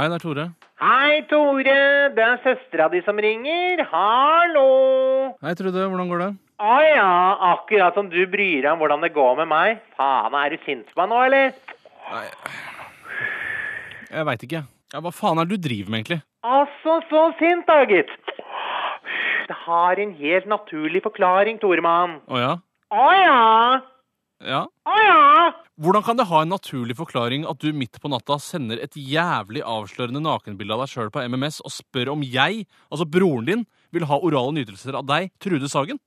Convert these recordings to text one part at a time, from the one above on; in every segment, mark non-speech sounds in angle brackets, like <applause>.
Hei, det er Tore. Hei, Tore. Det er søstera di som ringer. Hallo. Hei, Trude. Hvordan går det? Å ja, akkurat som du bryr deg om hvordan det går med meg. Faen, er du sint på meg nå, eller? Jeg veit ikke. Ja, hva faen er det du driver med, egentlig? Altså, så sint, da, gitt. Det har en helt naturlig forklaring, Toremann. Å ja? Å ja. Ja? Å ja. Hvordan kan det ha en naturlig forklaring at du midt på natta sender et jævlig avslørende nakenbilde av deg sjøl på MMS og spør om jeg, altså broren din, vil ha orale nytelser av deg, Trude Sagen?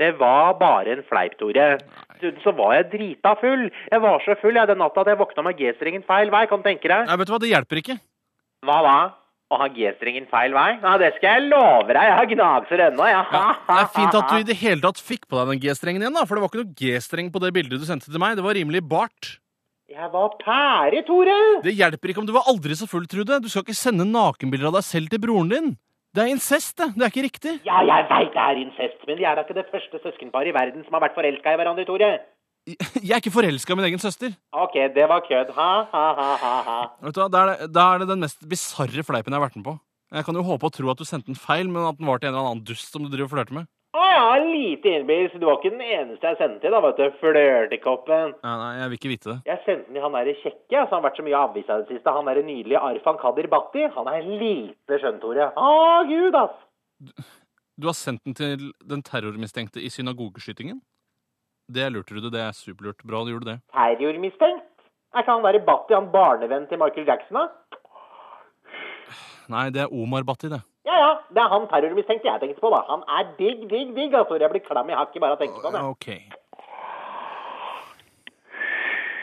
Det var bare en fleip, Tore. Dessuten Så var jeg drita full. Jeg var så full jeg, den natta at jeg våkna med G-strengen feil vei. Kan du tenke deg? Nei, vet du hva, det hjelper ikke. Hva da? Å ha G-strengen feil vei? Ja, det skal jeg love deg. Jeg har gnagser ennå, jeg. Ja, det er fint at du i det hele tatt fikk på deg den G-strengen igjen, da, for det var ikke noe G-streng på det bildet du sendte til meg. Det var rimelig bart. Jeg var pære, Tore. Det hjelper ikke om du var aldri så full, Trude. Du skal ikke sende nakenbilder av deg selv til broren din. Det er incest, det. Det er ikke riktig. Ja, jeg veit det er incest, men de er da ikke det første søskenparet i verden som har vært forelska i hverandre, Tore. <laughs> Jeg er ikke forelska i min egen søster. OK, det var kødd. Ha, ha, ha, ha, ha. Vet du hva, Da er det, da er det den mest bisarre fleipen jeg har vært med på. Jeg kan jo håpe og tro at du sendte den feil, men at den var til en eller annen dust som du driver og flørter med. Å ja, lite innbils. Du var ikke den eneste jeg sendte til, da, vet du. Flørtekoppen. Nei, nei, jeg vil ikke vite det. Jeg sendte den til han derre kjekke, altså, han har vært så mye i avisa i det siste. Han derre nydelige Arfan Kadir Bhatti. Han er lite skjønn, Tore. Å, gud, ass. Du har sendt den til den terrormistenkte i synagogeskytingen? Det lurte du, det. Det er superlurt. Bra du gjorde det. Terrormistenkt? Er ikke han derre Bhatti han barnevenn til Michael Jackson, da? Nei, det er Omar Bhatti, det. Ja ja, det er han terrormistenkte jeg tenkte på, da. Han er digg, digg, digg, altså. Jeg blir klam i hakket bare av å tenke på det. Ok.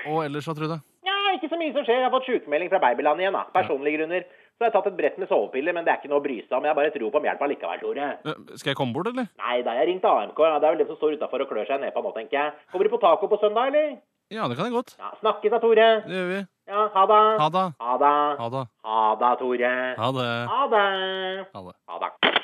Og ellers, da, Trude? Ja, ikke så mye som skjer. Jeg har fått sykemelding fra babyland igjen, da. Personlige grunner. Så jeg har tatt et brett med sovepiller, men det er ikke noe å bry seg om. Jeg bare tror på om hjelp allikevel, Tore. Eh, Skal jeg komme bort, eller? Nei, da har jeg ringt AMK. ja. Det er vel dem som står utafor og klør seg nedpå nå, tenker jeg. Kommer du på taco på søndag, eller? Ja, det kan jeg godt. Ja, snakkes da, Tore. Det gjør vi. Ja, ha det. Ha det. Ha det. Ha det. Ha det, Tore. Ha det. Ha det. Ha det. Ha det.